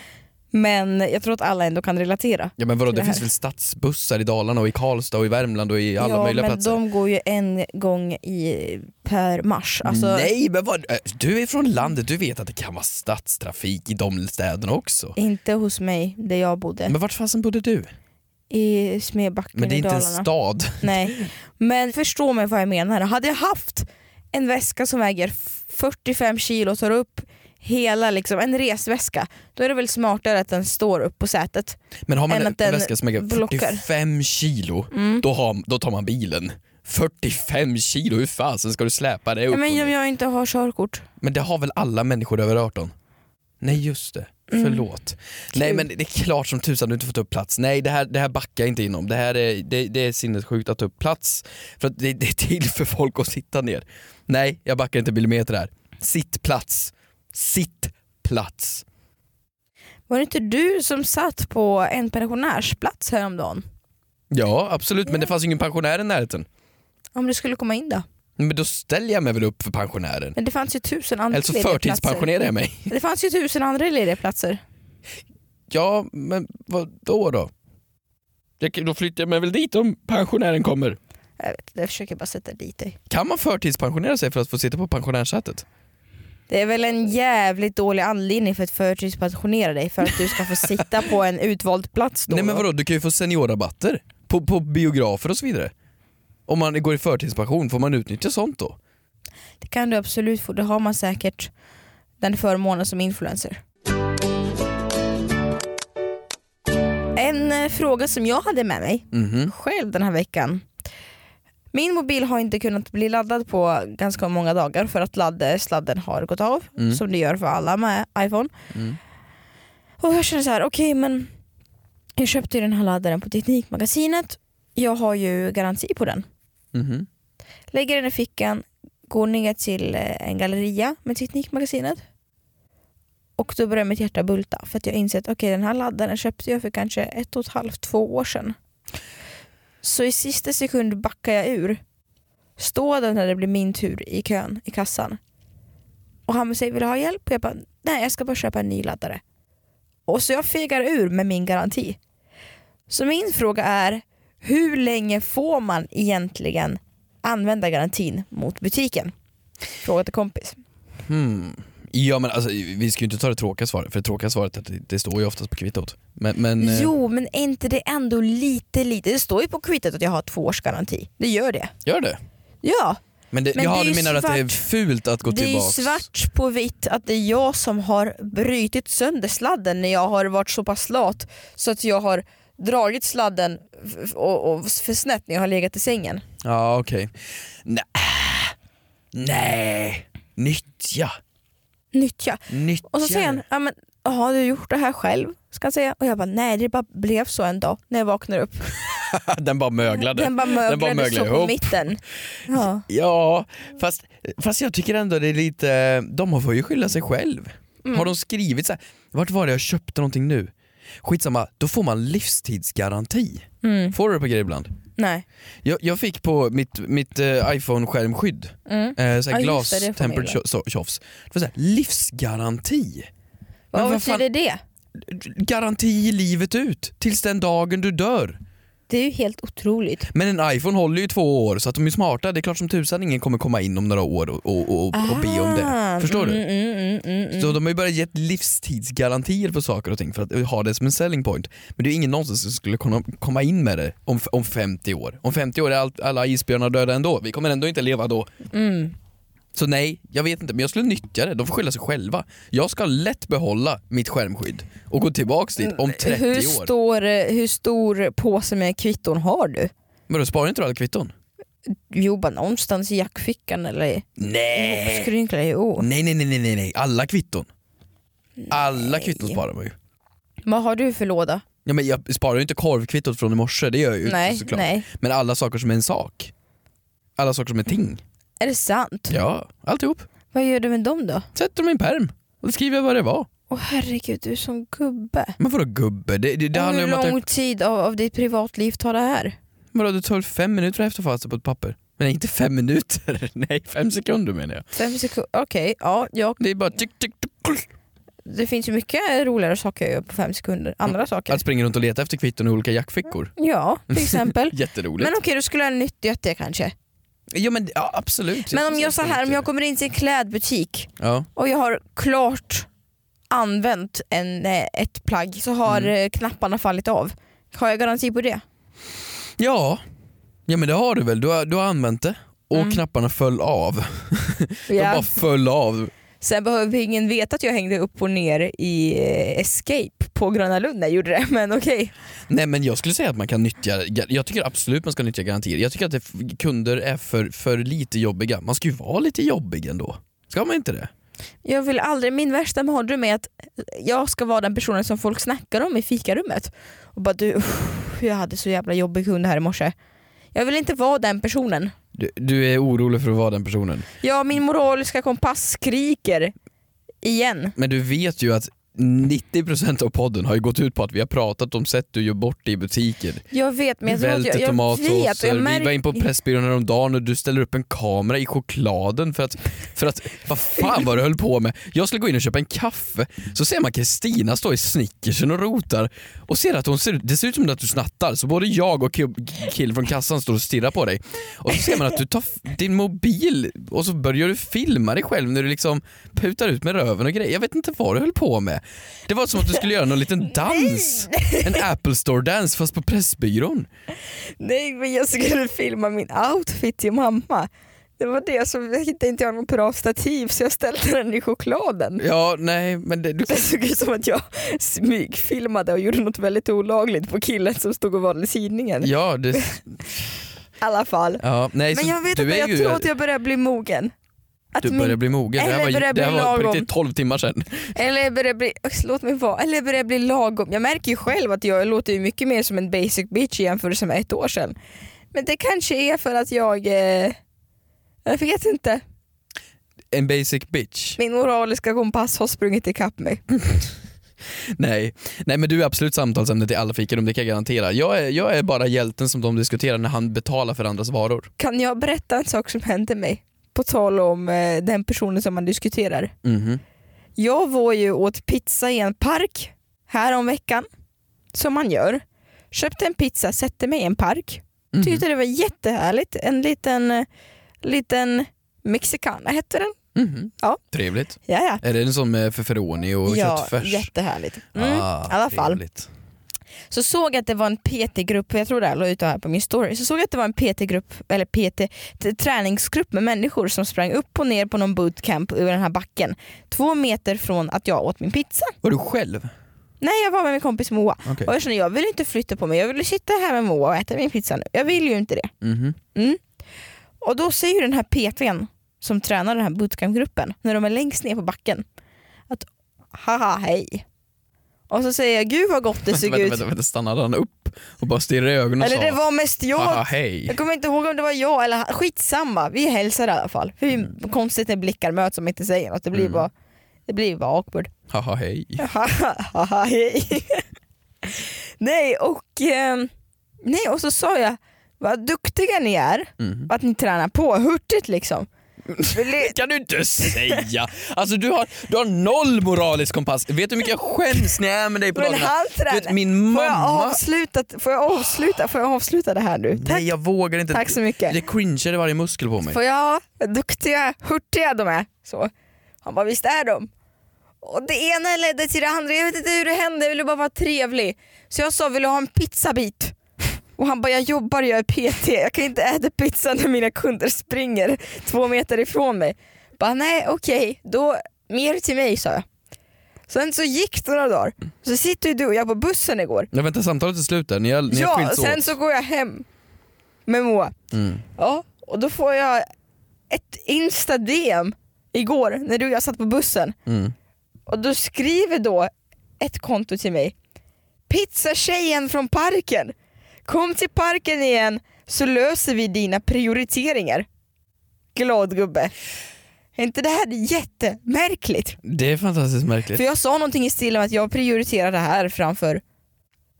[SPEAKER 2] Men jag tror att alla ändå kan relatera.
[SPEAKER 3] Ja men vadå,
[SPEAKER 2] till
[SPEAKER 3] det
[SPEAKER 2] det här.
[SPEAKER 3] finns väl stadsbussar i Dalarna och i Karlstad och i Värmland och i alla
[SPEAKER 2] ja,
[SPEAKER 3] möjliga
[SPEAKER 2] men
[SPEAKER 3] platser?
[SPEAKER 2] de går ju en gång i, per mars. Alltså,
[SPEAKER 3] Nej men vad, äh, du är från landet, du vet att det kan vara stadstrafik i de städerna också.
[SPEAKER 2] Inte hos mig, där jag bodde.
[SPEAKER 3] Men vart fasen bodde du?
[SPEAKER 2] I Smedbacken
[SPEAKER 3] Men det är
[SPEAKER 2] i
[SPEAKER 3] inte en
[SPEAKER 2] Dalarna.
[SPEAKER 3] stad.
[SPEAKER 2] Nej. Men förstå mig vad jag menar. Hade jag haft en väska som väger 45 kilo och tar upp hela liksom, en resväska, då är det väl smartare att den står upp på sätet.
[SPEAKER 3] Men har man
[SPEAKER 2] Än
[SPEAKER 3] en,
[SPEAKER 2] att den
[SPEAKER 3] väska som väger
[SPEAKER 2] blockar. Mm.
[SPEAKER 3] 45 kilo, då, har, då tar man bilen. 45 kilo, hur fasen ska du släpa det upp?
[SPEAKER 2] Ja, men
[SPEAKER 3] och
[SPEAKER 2] om
[SPEAKER 3] ner?
[SPEAKER 2] jag inte har körkort.
[SPEAKER 3] men det har väl alla människor över 18? Nej just det. Förlåt. Nej men det är klart som tusan du inte får ta upp plats. Nej det här, det här backar jag inte inom. Det här är, det, det är sinnessjukt att ta upp plats. För att det, det är till för folk att sitta ner. Nej, jag backar inte millimeter här. Sitt plats. Sitt plats.
[SPEAKER 2] Var det inte du som satt på en pensionärsplats häromdagen?
[SPEAKER 3] Ja absolut men det fanns ju ingen pensionär i närheten.
[SPEAKER 2] Om du skulle komma in då?
[SPEAKER 3] Men då ställer jag mig väl upp för pensionären.
[SPEAKER 2] Men det fanns ju tusen andra
[SPEAKER 3] Eller så
[SPEAKER 2] lediga
[SPEAKER 3] förtidspensionerar jag mig.
[SPEAKER 2] platser. Det fanns ju tusen andra lediga platser.
[SPEAKER 3] Ja men vad då då? Jag, då flyttar jag mig väl dit om pensionären kommer.
[SPEAKER 2] Jag vet, jag försöker bara sätta dit dig.
[SPEAKER 3] Kan man förtidspensionera sig för att få sitta på pensionärssätet?
[SPEAKER 2] Det är väl en jävligt dålig anledning för att förtidspensionera dig för att du ska få sitta på en utvald plats då.
[SPEAKER 3] Nej men
[SPEAKER 2] då.
[SPEAKER 3] vadå, du kan ju få seniorrabatter på, på biografer och så vidare. Om man går i förtidspension, får man utnyttja sånt då?
[SPEAKER 2] Det kan du absolut få, det har man säkert den förmånen som influencer. En eh, fråga som jag hade med mig
[SPEAKER 3] Mhm.
[SPEAKER 2] själv den här veckan. Min mobil har inte kunnat bli laddad på ganska många dagar för att ladd- sladden har gått av,
[SPEAKER 3] Mm.
[SPEAKER 2] som det gör för alla med iPhone.
[SPEAKER 3] Mm.
[SPEAKER 2] Och jag känner så här, okej men jag köpte ju den här laddaren på Teknikmagasinet. Jag har ju garanti på den.
[SPEAKER 3] Mhm.
[SPEAKER 2] Lägger den i fickan, går ner till eh, en galleria med Teknikmagasinet. Och då börjar mitt hjärta bulta för att jag inser att okej, den här laddaren köpte jag för kanske ett och ett halvt, två år sedan. Så i sista sekund backar jag ur. Står den när det blir min tur i kön, i kassan. Och han säger vill du ha hjälp? Och jag bara nej jag ska bara köpa en ny laddare. Och så jag fegar ur med min garanti. Så min fråga är hur länge får man egentligen använda garantin mot butiken? Fråga till kompis.
[SPEAKER 3] Hmm. Ja men alltså, vi ska ju inte ta det tråkiga svaret, för det tråkiga svaret är att det, det står ju oftast på kvittot. Men, men eh,
[SPEAKER 2] Jo men är inte det ändå lite lite? Det står ju på kvittot att jag har två års garanti. Det gör det.
[SPEAKER 3] gör det.
[SPEAKER 2] Ja,
[SPEAKER 3] Men, det,
[SPEAKER 2] Men
[SPEAKER 3] jaha,
[SPEAKER 2] det är
[SPEAKER 3] du
[SPEAKER 2] ju
[SPEAKER 3] menar att det är
[SPEAKER 2] svart.
[SPEAKER 3] fult att gå
[SPEAKER 2] det är ju
[SPEAKER 3] tillbaks?
[SPEAKER 2] svart på vitt att det är jag som har brutit sönder sladden när jag har varit så pass lat så att jag har dragit sladden f- f- och, och för snett när jag har legat i sängen.
[SPEAKER 3] Ja okej. Nej. Nej. Nyttja.
[SPEAKER 2] Nyttja.
[SPEAKER 3] Nyttja.
[SPEAKER 2] Och så säger han,
[SPEAKER 3] det.
[SPEAKER 2] ja men har du gjort det här själv? Ska han säga. Och jag bara, nej det bara blev så en dag när jag vaknade upp.
[SPEAKER 3] Den bara möglade.
[SPEAKER 2] Den bara möglade,
[SPEAKER 3] möglade
[SPEAKER 2] så på
[SPEAKER 3] ihop.
[SPEAKER 2] mitten. Ja.
[SPEAKER 3] Ja, fast, fast jag tycker ändå det är lite, de får ju skylla sig själv.
[SPEAKER 2] Mm.
[SPEAKER 3] Har de skrivit så här, vart var det jag köpte någonting nu? Skitsamma, då får man livstidsgaranti.
[SPEAKER 2] Mm.
[SPEAKER 3] Får du det på grejer ibland?
[SPEAKER 2] Nej.
[SPEAKER 3] Jag, jag fick på mitt, mitt eh, iPhone-skärmskydd,
[SPEAKER 2] Mm.
[SPEAKER 3] eh,
[SPEAKER 2] Ja, just det,
[SPEAKER 3] såhär
[SPEAKER 2] det får man
[SPEAKER 3] glas-tempered
[SPEAKER 2] ibland.
[SPEAKER 3] tjo- tjofs. Det var såhär, livsgaranti. Men
[SPEAKER 2] Vad
[SPEAKER 3] vad fan-
[SPEAKER 2] betyder det?
[SPEAKER 3] Garanti livet ut, tills den dagen du dör.
[SPEAKER 2] Det är ju helt otroligt.
[SPEAKER 3] Men en iPhone håller ju två år så att de är smarta, det är klart som tusan ingen kommer komma in om några år och, och, och, och be om det.
[SPEAKER 2] Ah,
[SPEAKER 3] Förstår du?
[SPEAKER 2] mm, Mm, mm, mm, mm.
[SPEAKER 3] Så de har ju börjat ge livstidsgarantier på saker och ting för att ha det som en selling point. Men det är ju ingen någonsin som skulle kunna komma in med det om, om 50 år. Om 50 år är allt, alla isbjörnar döda ändå, vi kommer ändå inte leva då.
[SPEAKER 2] Mm.
[SPEAKER 3] Så nej, jag vet inte, men jag skulle nyttja det. De får skylla sig själva. Jag ska lätt behålla mitt skärmskydd och gå tillbaks dit om 30
[SPEAKER 2] Mm, hur,
[SPEAKER 3] år.
[SPEAKER 2] stor, hur stor påse med kvitton har du?
[SPEAKER 3] Men då sparar inte du alla kvitton?
[SPEAKER 2] Jo, bara någonstans i jackfickan eller i oh.
[SPEAKER 3] Nej!
[SPEAKER 2] skrynklan. Jo.
[SPEAKER 3] Nej, nej, nej, nej, nej, nej. alla kvitton. Alla kvitton sparar man ju. Ja,
[SPEAKER 2] Vad har du för låda?
[SPEAKER 3] men jag sparar ju inte korvkvittot från i morse, det gör jag ju
[SPEAKER 2] nej,
[SPEAKER 3] såklart.
[SPEAKER 2] nej.
[SPEAKER 3] Men alla saker som är en sak. Alla saker som är ting.
[SPEAKER 2] Är det sant?
[SPEAKER 3] Ja, alltihop.
[SPEAKER 2] Vad gör du med dem då?
[SPEAKER 3] Sätter dem i en perm och då skriver jag vad det var.
[SPEAKER 2] Åh herregud, du är som gubbe.
[SPEAKER 3] Men vadå gubbe? Det, det, det
[SPEAKER 2] Och
[SPEAKER 3] handlar ju
[SPEAKER 2] hur
[SPEAKER 3] om att
[SPEAKER 2] lång
[SPEAKER 3] jag,
[SPEAKER 2] tid av, av ditt privatliv tar det här?
[SPEAKER 3] vadå, det tar fem minuter att häfta fast det på ett papper. Men inte fem minuter, nej fem sekunder menar jag.
[SPEAKER 2] Fem sekunder? Okej, ja, jag,
[SPEAKER 3] Det är bara tick, tick, tick, kluck.
[SPEAKER 2] det finns ju mycket roligare saker jag gör på fem sekunder. Andra saker.
[SPEAKER 3] Att springa runt och leta efter kvitton i olika jackfickor.
[SPEAKER 2] Ja, till exempel.
[SPEAKER 3] Jätteroligt.
[SPEAKER 2] Men okej, då skulle jag ha nyttjat det kanske.
[SPEAKER 3] ja men ja, absolut.
[SPEAKER 2] Men om jag så här, om jag
[SPEAKER 3] kommer...
[SPEAKER 2] kommer in till en klädbutik
[SPEAKER 3] Ja.
[SPEAKER 2] och jag har klart använt en, eh, ett plagg så har
[SPEAKER 3] Mm.
[SPEAKER 2] eh, knapparna fallit av. Har jag garanti på det?
[SPEAKER 3] ja. Ja men det har du väl, du har, du har använt det. Och
[SPEAKER 2] Mm.
[SPEAKER 3] knapparna föll av. De bara föll av.
[SPEAKER 2] Sen behöver ingen veta att jag hängde upp och ner i eh, Escape på Gröna Lund när jag gjorde det, men okej.
[SPEAKER 3] Nej men jag skulle säga att man kan nyttja, jag tycker absolut man ska nyttja garantier. Jag tycker att det, kunder är för, för lite jobbiga. Man ska ju vara lite jobbig ändå. Ska man inte det?
[SPEAKER 2] Jag vill aldrig, min värsta mardröm är att jag ska vara den personen som folk snackar om i fikarummet. Och bara du, uff, jag hade så jävla jobbig kund här i morse. Jag vill inte vara den personen.
[SPEAKER 3] Du, du är orolig för att vara den personen.
[SPEAKER 2] Ja, min moraliska kompass skriker. Igen.
[SPEAKER 3] Men du vet ju att 90% av podden har ju gått ut på att vi har pratat om sätt du gör bort det i butiker.
[SPEAKER 2] Jag vet men
[SPEAKER 3] Vi
[SPEAKER 2] jag tror att
[SPEAKER 3] välter
[SPEAKER 2] jag, jag vet. och
[SPEAKER 3] tomatsåser,
[SPEAKER 2] Jag
[SPEAKER 3] vi var in på Pressbyrån häromdagen och du ställer upp en kamera i chokladen för att, för att vad fan var du höll på med? Jag skulle gå in och köpa en kaffe, så ser man Kristina stå i snickersen och rotar och ser att hon ser, det ser ut som att du snattar, så både jag och kub- killen från kassan står och stirrar på dig. Och så ser man att du tar f- din mobil och så börjar du filma dig själv när du liksom putar ut med röven och grejer. Jag vet inte vad du höll på med. Det var som att du skulle göra någon liten dans, en Apple Store-dans fast på Pressbyrån.
[SPEAKER 2] Nej men jag skulle filma min outfit till mamma. Det var det som jag hittade inte jag något bra stativ så jag ställde den i chokladen.
[SPEAKER 3] Ja, nej, men det, du
[SPEAKER 2] Det
[SPEAKER 3] kan...
[SPEAKER 2] såg ut som att jag smygfilmade och gjorde något väldigt olagligt på killen som stod och valde tidningen. I
[SPEAKER 3] Ja, det,
[SPEAKER 2] alla fall.
[SPEAKER 3] ja, nej,
[SPEAKER 2] Men
[SPEAKER 3] så
[SPEAKER 2] jag vet
[SPEAKER 3] du
[SPEAKER 2] inte,
[SPEAKER 3] är
[SPEAKER 2] jag
[SPEAKER 3] ju,
[SPEAKER 2] tror att jag börjar bli mogen. Att
[SPEAKER 3] Du börjar bli mogen. Det här
[SPEAKER 2] Eller
[SPEAKER 3] var,
[SPEAKER 2] börjar
[SPEAKER 3] det här
[SPEAKER 2] bli
[SPEAKER 3] var på
[SPEAKER 2] lagom.
[SPEAKER 3] riktigt 12 timmar sedan.
[SPEAKER 2] Eller jag börjar bli, Oj, låt mig vara, eller jag börjar bli lagom. Jag märker ju själv att jag låter ju mycket mer som en basic bitch i jämförelse med ett år sedan. Men det kanske är för att jag, eh, jag vet inte.
[SPEAKER 3] En basic bitch.
[SPEAKER 2] Min moraliska kompass har sprungit ikapp mig.
[SPEAKER 3] Nej. nej, men du är absolut samtalsämnet i alla fikarum, det kan jag garantera. Jag är, jag är bara hjälten som de diskuterar när han betalar för andras varor.
[SPEAKER 2] Kan jag berätta en sak som hände mig? På tal om eh, den personen som man diskuterar.
[SPEAKER 3] Mhm.
[SPEAKER 2] Jag var ju åt pizza i en park häromveckan, som man gör. Köpte en pizza, sätter mig i en park.
[SPEAKER 3] Mhm.
[SPEAKER 2] Tyckte det var jättehärligt. En liten, eh, liten mexicana hette den.
[SPEAKER 3] Mhm.
[SPEAKER 2] Ja.
[SPEAKER 3] Trevligt.
[SPEAKER 2] Ja, ja.
[SPEAKER 3] Är det en som är feferoni och
[SPEAKER 2] Ja,
[SPEAKER 3] köttfärs?
[SPEAKER 2] jättehärligt. Mm, I
[SPEAKER 3] Ah,
[SPEAKER 2] alla fall.
[SPEAKER 3] trevligt.
[SPEAKER 2] Så såg jag att det var en PT-grupp, jag tror det här la ut det här på min story, så såg jag att det var en PT-grupp, eller PT, t- träningsgrupp med människor som sprang upp och ner på någon bootcamp ur den här backen. Två meter från att jag åt min pizza.
[SPEAKER 3] Var du själv?
[SPEAKER 2] Nej, jag var med min kompis Moa.
[SPEAKER 3] Okej.
[SPEAKER 2] Och jag kände, jag vill inte flytta på mig, jag vill sitta här med Moa och äta min pizza nu. Jag vill ju inte det.
[SPEAKER 3] Mhm.
[SPEAKER 2] Och då säger ju den här PTn som tränar den här bootcampgruppen, när de är längst ner på backen, att haha hej. Och så säger jag, gud vad gott det såg
[SPEAKER 3] Vänta,
[SPEAKER 2] ut.
[SPEAKER 3] vänta, vänta, stannade han upp och bara stirrade i ögonen och
[SPEAKER 2] Eller det
[SPEAKER 3] sa
[SPEAKER 2] var mest jag
[SPEAKER 3] "Haha, hej.
[SPEAKER 2] Jag kommer inte ihåg om det var jag eller han. Skitsamma, vi hälsar i alla fall. För vi är konstigt när blickar möts som inte säger något. Det blir
[SPEAKER 3] Mm.
[SPEAKER 2] bara, det blir bara awkward.
[SPEAKER 3] Haha hej.
[SPEAKER 2] Haha, hej. nej, och, ehm, nej, och så sa jag vad duktiga ni är
[SPEAKER 3] Mhm.
[SPEAKER 2] att ni tränar på hurtigt liksom. Vill ni-
[SPEAKER 3] kan du inte säga! Alltså du har, du har noll moralisk kompass. Vet du hur mycket jag skäms när jag är med dig på
[SPEAKER 2] Men
[SPEAKER 3] dagarna?
[SPEAKER 2] han
[SPEAKER 3] Du vet,
[SPEAKER 2] tränar.
[SPEAKER 3] min
[SPEAKER 2] Får jag,
[SPEAKER 3] mamma...
[SPEAKER 2] avsluta, får, jag avsluta, får jag avsluta det här nu? Tack,
[SPEAKER 3] Nej jag vågar inte.
[SPEAKER 2] tack så mycket.
[SPEAKER 3] Det cringear i varje muskel på mig.
[SPEAKER 2] Får jag vad duktiga, hurtiga de är. Så. Han bara, visst är de? Och det ena ledde till det andra, jag vet inte hur det hände, jag ville bara vara trevlig. Så jag sa, vill du ha en pizzabit? Och han bara, jag jobbar, jag är PT, jag kan inte äta pizza när mina kunder springer två meter ifrån mig. Bara, nej okej, då mer till mig sa jag. Sen så gick det några dagar, så sitter ju du och jag på bussen igår.
[SPEAKER 3] Jag väntar samtalet är slut där, ni har, ni har
[SPEAKER 2] Ja,
[SPEAKER 3] skilts
[SPEAKER 2] sen
[SPEAKER 3] åt.
[SPEAKER 2] så går jag hem med Moa.
[SPEAKER 3] Mm.
[SPEAKER 2] Ja, och då får jag ett Insta-DM igår när du och jag satt på bussen
[SPEAKER 3] Mm.
[SPEAKER 2] och då skriver då ett konto till mig Pizzatjejen från parken! Kom till parken igen så löser vi dina prioriteringar. Glad gubbe. Är inte det här jättemärkligt?
[SPEAKER 3] Det är fantastiskt märkligt.
[SPEAKER 2] För jag sa någonting i stil med att jag prioriterar det här framför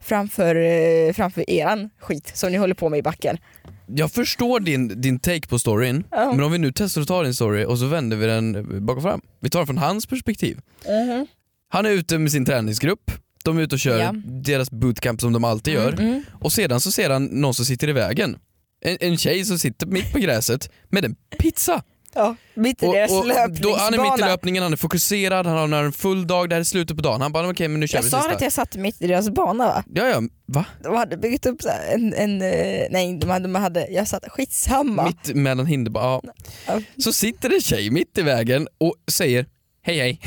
[SPEAKER 2] framför, eh, framför eran skit som ni håller på med i backen.
[SPEAKER 3] Jag förstår din, din take på storyn,
[SPEAKER 2] Ja.
[SPEAKER 3] men om vi nu testar att ta din story och så vänder vi den bak och fram. Vi tar den från hans perspektiv. Han är ute med sin träningsgrupp, de är ute och kör
[SPEAKER 2] Ja.
[SPEAKER 3] deras bootcamp som de alltid gör.
[SPEAKER 2] Mm, mm.
[SPEAKER 3] Och sedan så ser han någon som sitter i vägen. En, en tjej som sitter mitt på gräset med en pizza.
[SPEAKER 2] Ja, mitt i deras
[SPEAKER 3] då,
[SPEAKER 2] löpningsbana.
[SPEAKER 3] han är mitt i löpningen, han är fokuserad, han har en full dag, det här är slutet på dagen. Han bara okej men nu kör
[SPEAKER 2] jag
[SPEAKER 3] vi
[SPEAKER 2] sa
[SPEAKER 3] sista.
[SPEAKER 2] att jag satt mitt i deras bana va?
[SPEAKER 3] Ja ja, va?
[SPEAKER 2] De hade byggt upp så här en, en eh, nej de hade, de hade, jag satt, skitsamma.
[SPEAKER 3] Mitt mellan hinderbanan. Ja.
[SPEAKER 2] Ja.
[SPEAKER 3] Så sitter det en tjej mitt i vägen och säger hej hej.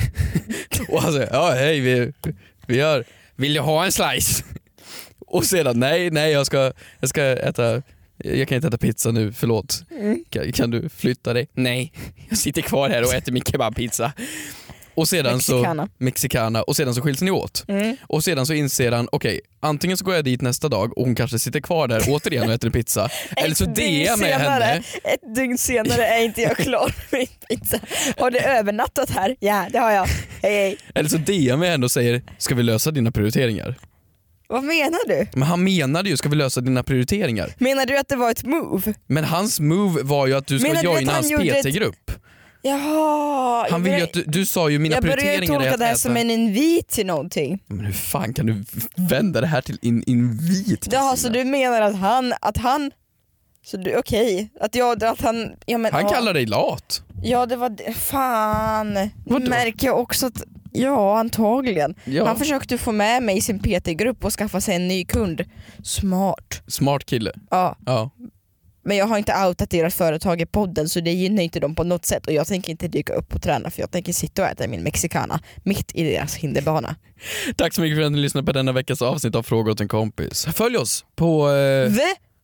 [SPEAKER 3] och han säger ja hej vi, vi gör, vill du ha en slice? och sedan nej nej jag ska, jag ska äta Jag kan inte äta pizza nu, förlåt. Kan, kan du flytta dig? Nej, jag sitter kvar här och äter min kebabpizza. Och sedan
[SPEAKER 2] Mexicana.
[SPEAKER 3] så Mexicana och sedan så skiljs ni åt.
[SPEAKER 2] Mm.
[SPEAKER 3] Och sedan så inser han, okej, antingen så går jag dit nästa dag och hon kanske sitter kvar där återigen och äter en pizza. eller så
[SPEAKER 2] Ett dygn
[SPEAKER 3] DMar jag
[SPEAKER 2] senare-
[SPEAKER 3] henne.
[SPEAKER 2] Ett dygn senare är inte jag klar med min pizza. Har du övernattat här? Ja det har jag. Hej hej.
[SPEAKER 3] Eller så DMar jag henne och säger, ska vi lösa dina prioriteringar?
[SPEAKER 2] Vad menar du?
[SPEAKER 3] Men han menade ju, ska vi lösa dina prioriteringar?
[SPEAKER 2] Menar du att det var ett move?
[SPEAKER 3] Men hans move var ju att du ska
[SPEAKER 2] Menar du att
[SPEAKER 3] joina
[SPEAKER 2] han
[SPEAKER 3] hans
[SPEAKER 2] gjorde ett-
[SPEAKER 3] PT-grupp.
[SPEAKER 2] Jaha.
[SPEAKER 3] Han vill ju att du, du sa ju mina
[SPEAKER 2] jag börjar ju
[SPEAKER 3] prioriteringar är
[SPEAKER 2] tolka
[SPEAKER 3] att
[SPEAKER 2] det här
[SPEAKER 3] äta-
[SPEAKER 2] som en invit till någonting.
[SPEAKER 3] Men hur fan kan du vända det här till in, invit?
[SPEAKER 2] Jaha så du menar att han, att han, så du, okej, att jag, att han, ja men
[SPEAKER 3] Han
[SPEAKER 2] ja,
[SPEAKER 3] kallar dig lat.
[SPEAKER 2] ja det var, det. fan,
[SPEAKER 3] Vadå?
[SPEAKER 2] märker jag också att, ja antagligen.
[SPEAKER 3] Ja.
[SPEAKER 2] Han försökte få med mig i sin PT-grupp och skaffa sig en ny kund. Smart.
[SPEAKER 3] Smart kille.
[SPEAKER 2] Ja,
[SPEAKER 3] Ja.
[SPEAKER 2] men jag har inte outat deras företag i podden så det gynnar inte dem på något sätt och jag tänker inte dyka upp och träna för jag tänker sitta och äta min mexicana mitt i deras hinderbana.
[SPEAKER 3] Tack så mycket för att ni lyssnade på denna veckas avsnitt av Fråga åt en kompis. Följ oss på... Eh...
[SPEAKER 2] V?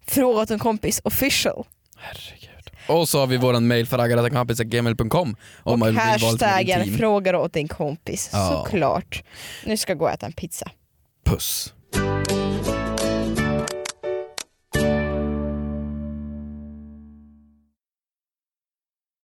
[SPEAKER 2] Fråga åt en kompis official.
[SPEAKER 3] Herregud. Och så har vi våran mail faragaratakkompisgmail.com om
[SPEAKER 2] och
[SPEAKER 3] man vill vara lite mer
[SPEAKER 2] hashtaggen
[SPEAKER 3] intim.
[SPEAKER 2] frågar åt din kompis
[SPEAKER 3] Ja.
[SPEAKER 2] såklart. Nu ska jag gå och äta en pizza.
[SPEAKER 3] Puss.